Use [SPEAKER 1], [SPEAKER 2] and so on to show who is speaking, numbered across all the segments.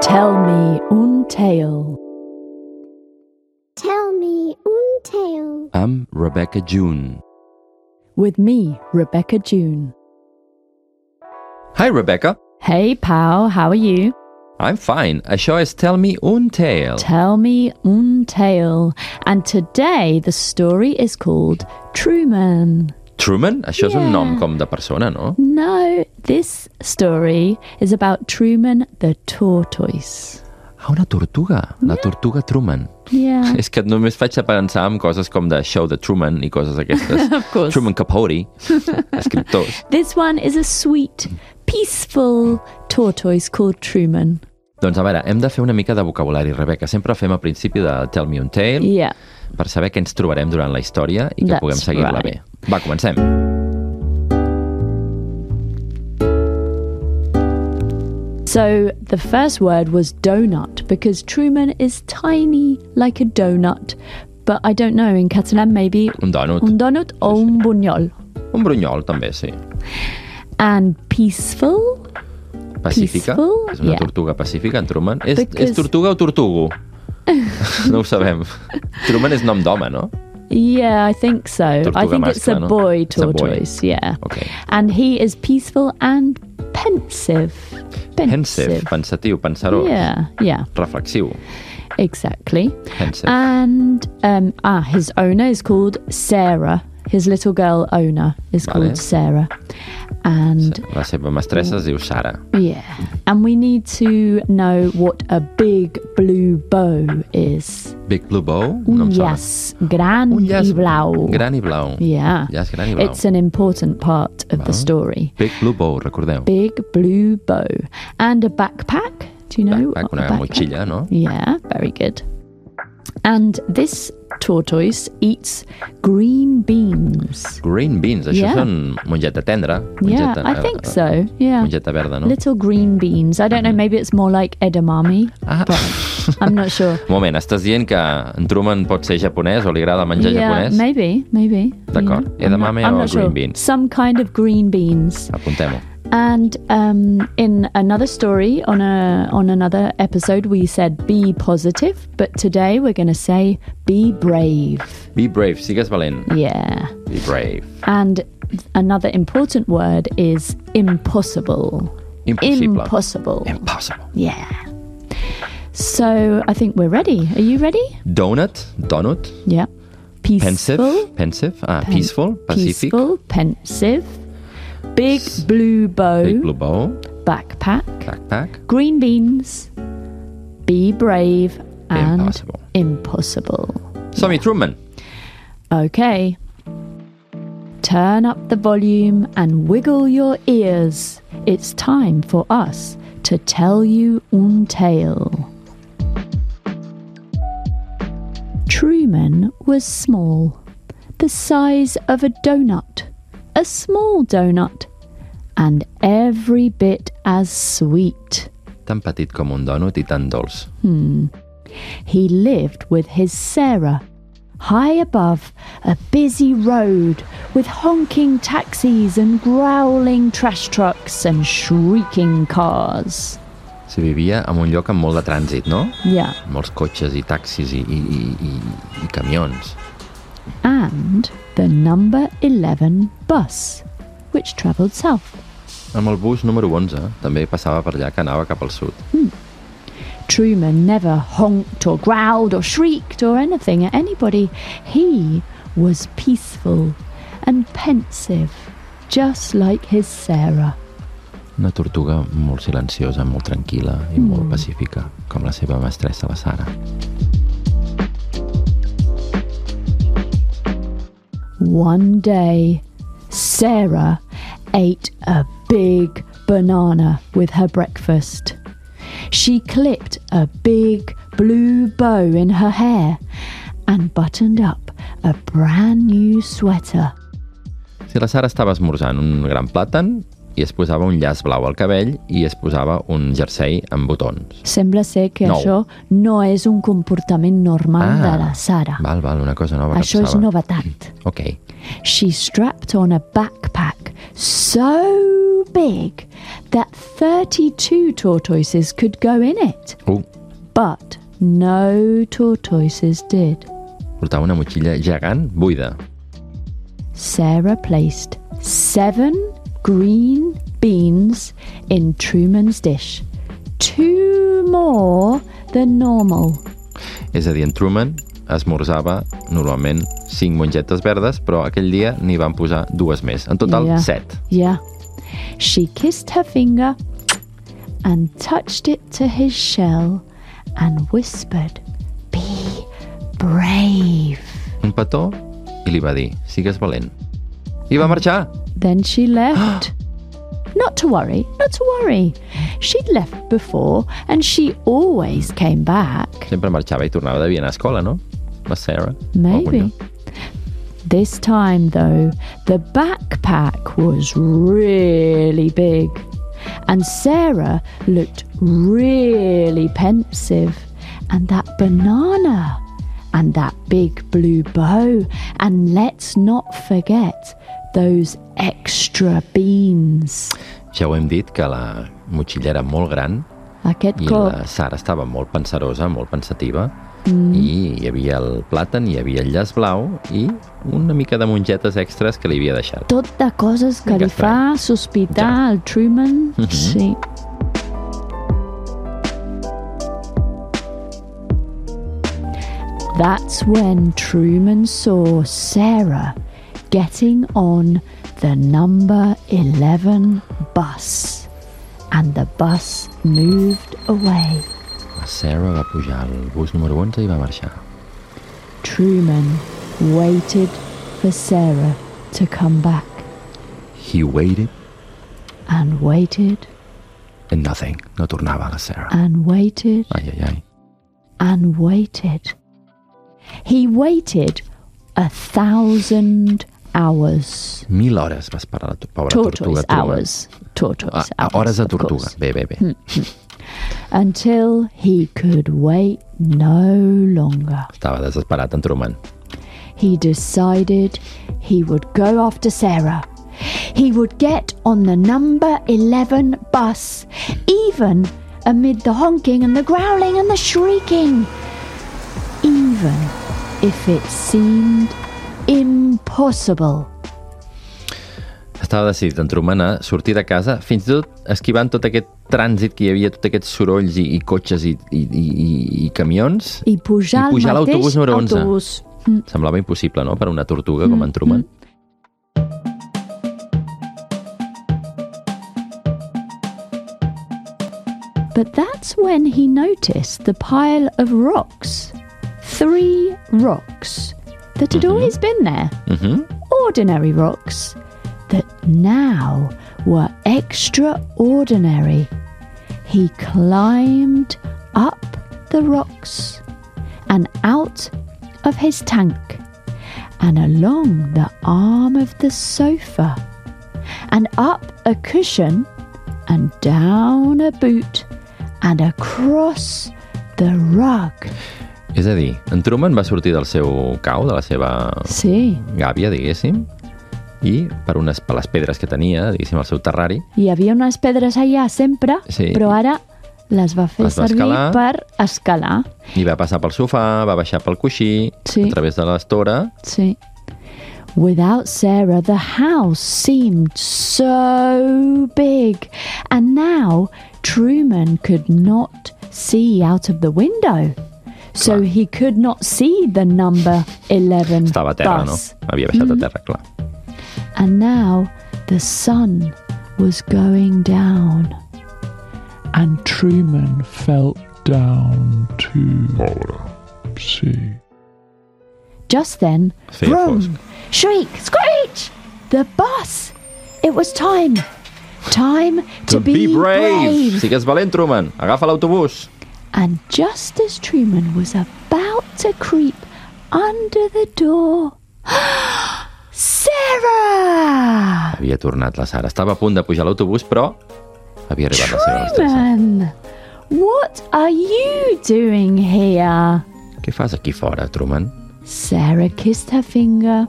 [SPEAKER 1] Tell me un tale.
[SPEAKER 2] Tell me un tale.
[SPEAKER 3] I'm Rebecca June.
[SPEAKER 1] With me, Rebecca June.
[SPEAKER 3] Hi, Rebecca.
[SPEAKER 1] Hey, pal, how are you?
[SPEAKER 3] I'm fine. Això es Tell Me Un Tale.
[SPEAKER 1] Tell me un tale. And today the story is called Truman.
[SPEAKER 3] Truman? Això és un nom
[SPEAKER 1] Yeah.
[SPEAKER 3] com de persona, no?
[SPEAKER 1] No, this story is about Truman the tortoise.
[SPEAKER 3] Ah, una tortuga. La tortuga Truman.
[SPEAKER 1] Yeah,
[SPEAKER 3] És que només faig a pensar en coses com de Show de Truman i coses aquestes.
[SPEAKER 1] of course.
[SPEAKER 3] Truman Capote, escriptors.
[SPEAKER 1] This one is a sweet, peaceful tortoise called Truman.
[SPEAKER 3] Doncs a veure, hem de fer una mica de vocabulari, Rebeca. Sempre fem al principi de Tell Me Un Tale
[SPEAKER 1] Yeah.
[SPEAKER 3] per saber què ens trobarem durant la història i que
[SPEAKER 1] That's
[SPEAKER 3] puguem seguir-la
[SPEAKER 1] right.
[SPEAKER 3] bé. Va, comencem.
[SPEAKER 1] So the first word was donut because Truman is tiny like a donut. But I don't know, in Catalan maybe
[SPEAKER 3] Un donut.
[SPEAKER 1] un donut or un bunyol.
[SPEAKER 3] Un brunyol, també, sí.
[SPEAKER 1] And peaceful?
[SPEAKER 3] Pacífica?
[SPEAKER 1] Peaceful?
[SPEAKER 3] És una
[SPEAKER 1] Yeah.
[SPEAKER 3] tortuga pacífica, en Truman? És,
[SPEAKER 1] Because-
[SPEAKER 3] és tortuga o tortugo? no ho sabem. Truman és nom d'home, no?
[SPEAKER 1] Yeah, I think so. I
[SPEAKER 3] Tortuga
[SPEAKER 1] think it's
[SPEAKER 3] mascla,
[SPEAKER 1] a
[SPEAKER 3] no?
[SPEAKER 1] boy
[SPEAKER 3] It's a boy.
[SPEAKER 1] tortoise, yeah.
[SPEAKER 3] Okay.
[SPEAKER 1] And he is peaceful and pensive.
[SPEAKER 3] Pensive, pensatiu, pensarós,
[SPEAKER 1] Yeah, yeah,
[SPEAKER 3] reflexiu.
[SPEAKER 1] exactly.
[SPEAKER 3] Pensive.
[SPEAKER 1] Ah. And um, ah, his owner is called Sarah. His little girl owner is
[SPEAKER 3] Vale.
[SPEAKER 1] called Sarah. And
[SPEAKER 3] La seva mestressa es diu Sara.
[SPEAKER 1] yeah, and we need to know what a big blue bow is.
[SPEAKER 3] Big Blue Bow? No
[SPEAKER 1] Un
[SPEAKER 3] em sona.
[SPEAKER 1] llaç gran
[SPEAKER 3] Un llaç
[SPEAKER 1] i blau.
[SPEAKER 3] gran i blau.
[SPEAKER 1] Yeah.
[SPEAKER 3] Llaç gran i blau.
[SPEAKER 1] It's an important part of
[SPEAKER 3] Uh-huh.
[SPEAKER 1] the story.
[SPEAKER 3] Big Blue Bow, recordeu.
[SPEAKER 1] Big blue bow and a backpack. Do you know?
[SPEAKER 3] Backpack,
[SPEAKER 1] a
[SPEAKER 3] una motxilla, no?
[SPEAKER 1] Yeah, very good. And this tortoise eats green beans.
[SPEAKER 3] Green beans, això
[SPEAKER 1] Yeah.
[SPEAKER 3] són mongeta tendra.
[SPEAKER 1] Yeah,
[SPEAKER 3] Mongeta, eh,
[SPEAKER 1] I think so. Yeah.
[SPEAKER 3] Mongeta verda, no?
[SPEAKER 1] Little green beans. I don't know, maybe it's more like edamame.
[SPEAKER 3] Mm-hmm. Ah.
[SPEAKER 1] But I'm not sure.
[SPEAKER 3] Un moment, estàs dient que en Truman pot ser japonès o li agrada menjar
[SPEAKER 1] yeah,
[SPEAKER 3] japonès?
[SPEAKER 1] maybe, maybe. you
[SPEAKER 3] D'accord.
[SPEAKER 1] know. I'm not-
[SPEAKER 3] Edamame
[SPEAKER 1] I'm
[SPEAKER 3] or
[SPEAKER 1] not sure.
[SPEAKER 3] green beans?
[SPEAKER 1] Some kind of green beans.
[SPEAKER 3] Apuntem-ho.
[SPEAKER 1] And um, in another story on a on another episode, we said be positive, but today we're going to say be brave.
[SPEAKER 3] Be brave, sigues valent.
[SPEAKER 1] Yeah.
[SPEAKER 3] Be brave.
[SPEAKER 1] And another important word is impossible.
[SPEAKER 3] Impossible.
[SPEAKER 1] Impossible.
[SPEAKER 3] Impossible.
[SPEAKER 1] yeah. So I think we're ready. Are you ready?
[SPEAKER 3] Donut, donut,
[SPEAKER 1] Yeah. Peaceful.
[SPEAKER 3] pensive, pensive, ah, peaceful, pacific,
[SPEAKER 1] Peaceful. Pensive. Big blue bow.
[SPEAKER 3] big blue bow,
[SPEAKER 1] Backpack.
[SPEAKER 3] backpack,
[SPEAKER 1] Green beans. Be brave and
[SPEAKER 3] Impossible.
[SPEAKER 1] impossible.
[SPEAKER 3] Sammy Truman.
[SPEAKER 1] Okay. Turn up the volume and wiggle your ears. It's time for us to tell you un tale. Truman was small, the size of a donut, a small donut, and every bit as sweet.
[SPEAKER 3] Tan petit com un donut i tan dolç.
[SPEAKER 1] he lived with his Sarah. High above, a busy road with honking taxis and growling trash trucks and shrieking cars.
[SPEAKER 3] Si vivia en un lloc amb molt de trànsit, no?
[SPEAKER 1] Yeah.
[SPEAKER 3] Molts cotxes i taxis i, i, i, i, i camions.
[SPEAKER 1] And the number 11 bus, which travelled south.
[SPEAKER 3] Amb el bus número 11 també passava per allà que anava cap al sud.
[SPEAKER 1] Truman never honked or growled or shrieked or anything at anybody. He was peaceful and pensive, just like his Sarah.
[SPEAKER 3] Una tortuga molt silenciosa, molt tranquil·la i molt
[SPEAKER 1] Mm.
[SPEAKER 3] pacífica, com la seva mestressa, la Sara.
[SPEAKER 1] One day, Sarah ate a big banana with her breakfast. She clipped a big blue bow in her hair and buttoned up a brand new sweater.
[SPEAKER 3] Si la Sara estava esmorzant un gran plàtan i es posava un llaç blau al cabell i es posava un jersei amb botons.
[SPEAKER 1] Sembla ser que
[SPEAKER 3] No.
[SPEAKER 1] això no és un comportament normal de
[SPEAKER 3] Ah,
[SPEAKER 1] la Sara.
[SPEAKER 3] Val, val, una cosa nova
[SPEAKER 1] Això
[SPEAKER 3] que
[SPEAKER 1] és
[SPEAKER 3] passava.
[SPEAKER 1] novetat.
[SPEAKER 3] Ok.
[SPEAKER 1] She strapped on a backpack so big that 32 tortoises could go in it,
[SPEAKER 3] Uh,
[SPEAKER 1] but no tortoises did.
[SPEAKER 3] portava una motxilla gegant buida.
[SPEAKER 1] Sarah placed seven green beans in Truman's dish, two more than normal.
[SPEAKER 3] És a dir, en Truman esmorzava normalment 5 mongetes verdes, però aquell dia n'hi van posar dues més. En total,
[SPEAKER 1] Ja.
[SPEAKER 3] 7.
[SPEAKER 1] Yeah. She kissed her finger and touched it to his shell and whispered, Be brave.
[SPEAKER 3] Un petó i li va dir, sigues valent. I va marxar.
[SPEAKER 1] Then she left. not to worry, not to worry. She'd left before and she always came back.
[SPEAKER 3] Sempre marxava i tornava de via a escola, no? La Sarah. Algun
[SPEAKER 1] Maybe.
[SPEAKER 3] lloc.
[SPEAKER 1] This time, though, the backpack was really big. And Sarah looked really pensive. And that banana. And that big blue bow. And let's not forget those extra beans.
[SPEAKER 3] Ja ho hem dit, que la motxilla era molt gran
[SPEAKER 1] Aquest
[SPEAKER 3] i
[SPEAKER 1] cop,
[SPEAKER 3] la Sara estava molt pensarosa, molt pensativa, mm. i hi havia el plàtan, hi havia el llaç blau i una mica de mongetes extres que li havia deixat.
[SPEAKER 1] tot de coses que
[SPEAKER 3] Mica
[SPEAKER 1] li fa sospitar al Truman.
[SPEAKER 3] Mhm.
[SPEAKER 1] Sí. That's when Truman saw Sarah getting on the number 11 bus, and the bus moved away.
[SPEAKER 3] La Sarah va pujar al bus número 11 i va marxar.
[SPEAKER 1] Truman waited for Sarah to come back
[SPEAKER 3] He waited
[SPEAKER 1] and waited
[SPEAKER 3] and nothing. No tornava la Sarah.
[SPEAKER 1] and waited
[SPEAKER 3] Ai, ai, ai.
[SPEAKER 1] and waited. He waited a thousand hours.
[SPEAKER 3] Mil hores vas parar la tu- pobra
[SPEAKER 1] Tortoise
[SPEAKER 3] tortuga. Truman.
[SPEAKER 1] hours. Tortoise
[SPEAKER 3] Ah,
[SPEAKER 1] hours.
[SPEAKER 3] hores de
[SPEAKER 1] of
[SPEAKER 3] tortuga.
[SPEAKER 1] course. Mm.
[SPEAKER 3] Bé, bé, bé.
[SPEAKER 1] Until he could wait no longer.
[SPEAKER 3] Estava desesperat en Truman.
[SPEAKER 1] He decided he would go after Sarah. He would get on the number 11 bus, even amid the honking and the growling and the shrieking. Even if it seemed impossible.
[SPEAKER 3] Estava decidit en Truman a sortir de casa, fins i tot esquivant tot aquest trànsit que hi havia, tots aquests sorolls i, i cotxes i, i, i, i- i camions.
[SPEAKER 1] I pujar,
[SPEAKER 3] I pujar
[SPEAKER 1] al
[SPEAKER 3] a
[SPEAKER 1] mateix
[SPEAKER 3] l'autobús número 11.
[SPEAKER 1] autobús.
[SPEAKER 3] Semblava impossible, no?, per una tortuga com
[SPEAKER 1] Mm-hmm.
[SPEAKER 3] en Truman.
[SPEAKER 1] But that's when he noticed the pile of rocks. Three rocks that had always been there.
[SPEAKER 3] Mm -hmm.
[SPEAKER 1] ordinary rocks that now were extraordinary. He climbed up the rocks and out of his tank and along the arm of the sofa and up a cushion and down a boot and across the rug.
[SPEAKER 3] És a dir, en Truman va sortir del seu cau, de la seva
[SPEAKER 1] Sí,
[SPEAKER 3] gàbia, diguéssim, i per, unes, per les pedres que tenia, diguéssim, al seu terrari,
[SPEAKER 1] Hi havia unes pedres allà sempre,
[SPEAKER 3] Sí.
[SPEAKER 1] però ara les va fer
[SPEAKER 3] Les va
[SPEAKER 1] servir
[SPEAKER 3] escalar.
[SPEAKER 1] per escalar.
[SPEAKER 3] i va passar pel sofà, va baixar pel coixí,
[SPEAKER 1] Sí.
[SPEAKER 3] a través de l'estora,
[SPEAKER 1] Sí. Without Sarah, the house seemed so big. And now Truman could not see out of the window. So
[SPEAKER 3] Clar.
[SPEAKER 1] he could not see the number 11
[SPEAKER 3] estava a terra,
[SPEAKER 1] bus.
[SPEAKER 3] no? Havia baixat a
[SPEAKER 1] Mm-hmm.
[SPEAKER 3] terra, clar.
[SPEAKER 1] And now the sun was going down.
[SPEAKER 4] and Truman felt down to sea.
[SPEAKER 1] Just then,
[SPEAKER 3] Es feia
[SPEAKER 1] vroom,
[SPEAKER 3] fosc.
[SPEAKER 1] shriek, screech! The bus! It was time. Time to, be, brave.
[SPEAKER 3] Sigues valent, Truman! Agafa l'autobús!
[SPEAKER 1] And just as Truman was about to creep under the door, Sarah!
[SPEAKER 3] Havia tornat la Sara. Estava a punt de pujar a l'autobús, però havia arribat la seva destressa.
[SPEAKER 1] Truman! What are you doing here?
[SPEAKER 3] Què fas aquí fora, Truman?
[SPEAKER 1] Sarah kissed her finger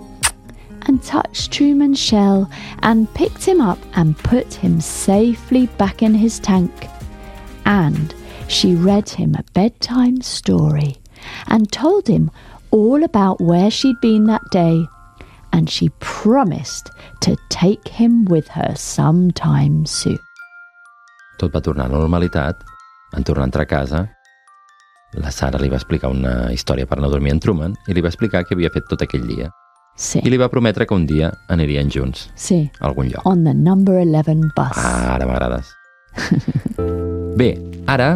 [SPEAKER 1] and touched Truman's shell and picked him up and put him safely back in his tank. And she read him a bedtime story and told him all about where she'd been that day. And she promised to take him with her sometime soon.
[SPEAKER 3] Tot va tornar a la normalitat. En tornar a entrar a casa, la Sara li va explicar una història per no dormir en Truman i li va explicar què havia fet tot aquell dia.
[SPEAKER 1] Sí,
[SPEAKER 3] I li va prometre que un dia anirien junts
[SPEAKER 1] sí.
[SPEAKER 3] a algun lloc.
[SPEAKER 1] On the number 11 bus.
[SPEAKER 3] Ah, ara m'agrades. Bé, ara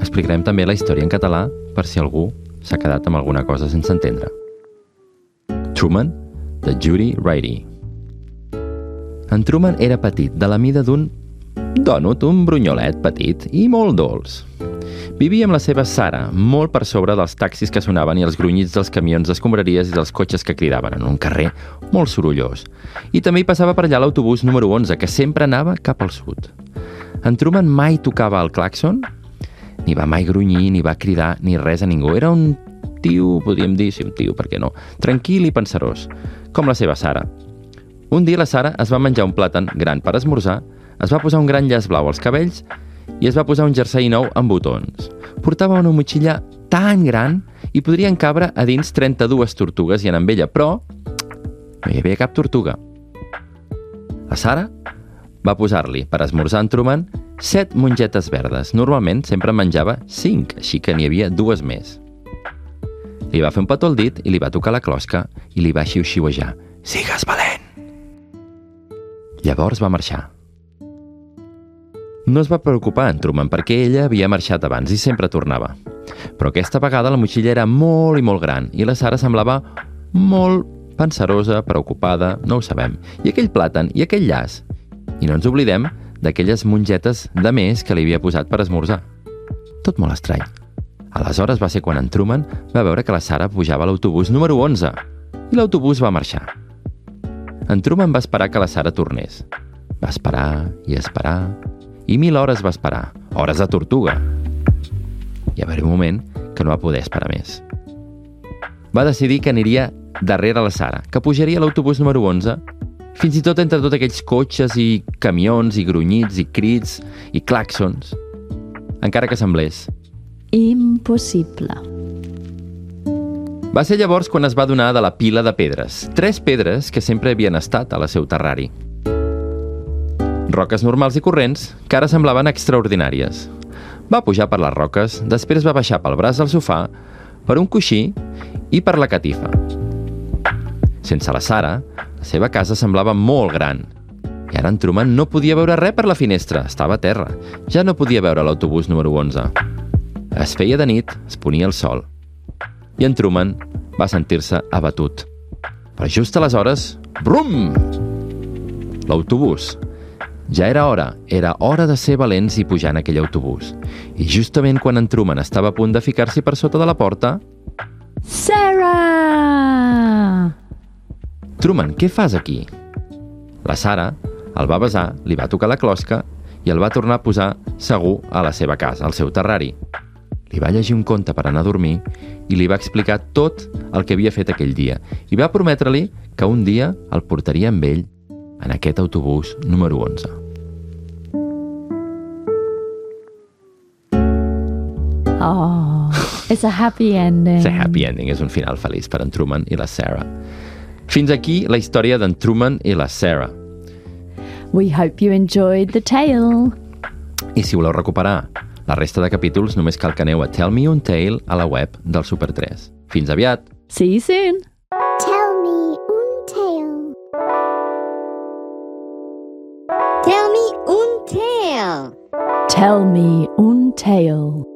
[SPEAKER 3] explicarem també la història en català per si algú s'ha quedat amb alguna cosa sense entendre. Truman, de Judy Righty. En Truman era petit, de la mida d'un dònut, un brunyolet petit i molt dolç. Vivia amb la seva Sara, molt per sobre dels taxis que sonaven i els grunyits dels camions d'escombraries i dels cotxes que cridaven en un carrer molt sorollós. I també hi passava per allà l'autobús número 11, que sempre anava cap al sud. En Truman mai tocava el claxon, ni va mai grunyir, ni va cridar, ni res a ningú. Era un tio, podríem dir, sí, un tio, per què no, tranquil i pensarós, com la seva Sara. Un dia la Sara es va menjar un plàtan gran per esmorzar, es va posar un gran llaç blau als cabells i es va posar un jersei nou amb botons. Portava una motxilla tan gran i podrien cabre a dins 32 tortugues i anar amb ella, però no hi havia cap tortuga. La Sara va posar-li, per esmorzar en Truman, set mongetes verdes. Normalment sempre en menjava cinc, així que n'hi havia dues més. Li va fer un petó al dit i li va tocar la closca i li va xiu-xiuejar. Sigues valent! Llavors va marxar. No es va preocupar en Truman perquè ella havia marxat abans i sempre tornava. Però aquesta vegada la motxilla era molt i molt gran i la Sara semblava molt pensarosa, preocupada, no ho sabem. I aquell plàtan i aquell llaç. I no ens oblidem d'aquelles mongetes de més que li havia posat per esmorzar. Tot molt estrany. Aleshores va ser quan en Truman va veure que la Sara pujava a l'autobús número 11 i l'autobús va marxar. En Truman va esperar que la Sara tornés. Va esperar i esperar i mil hores va esperar, hores de tortuga. Hi va haver un moment que no va poder esperar més. Va decidir que aniria darrere la Sara, que pujaria a l'autobús número 11, fins i tot entre tots aquells cotxes i camions i grunyits i crits i claxons, encara que semblés
[SPEAKER 1] Impossible.
[SPEAKER 3] Va ser llavors quan es va donar de la pila de pedres. Tres pedres que sempre havien estat a la seu terrari. Roques normals i corrents que ara semblaven extraordinàries. Va pujar per les roques, després va baixar pel braç del sofà, per un coixí i per la catifa. Sense la Sara, la seva casa semblava molt gran. I ara en Truman no podia veure res per la finestra, estava a terra. Ja no podia veure l'autobús número 11. Es feia de nit, es ponia el sol i en Truman va sentir-se abatut. Però just aleshores, brum! L'autobús. Ja era hora, era hora de ser valents i pujar en aquell autobús. I justament quan en Truman estava a punt de ficar-s'hi per sota de la porta,
[SPEAKER 1] Sarah!
[SPEAKER 3] Truman, què fas aquí? La Sara el va besar, li va tocar la closca i el va tornar a posar segur a la seva casa, al seu terrari. Li va llegir un conte per anar a dormir i li va explicar tot el que havia fet aquell dia i va prometre-li que un dia el portaria amb ell en aquest autobús número 11.
[SPEAKER 1] Oh, it's a happy ending.
[SPEAKER 3] It's a happy ending és un final feliç per en Truman i la Sarah. Fins aquí la història d'en Truman i la Sarah.
[SPEAKER 1] We hope you enjoyed the tale.
[SPEAKER 3] I si voleu recuperar la resta de capítols, només cal que aneu a Tell Me Un Tale a la web del Super 3. Fins aviat!
[SPEAKER 1] See you soon.
[SPEAKER 2] Tell me un tale. Tell me un tale.
[SPEAKER 1] Tell me un tale.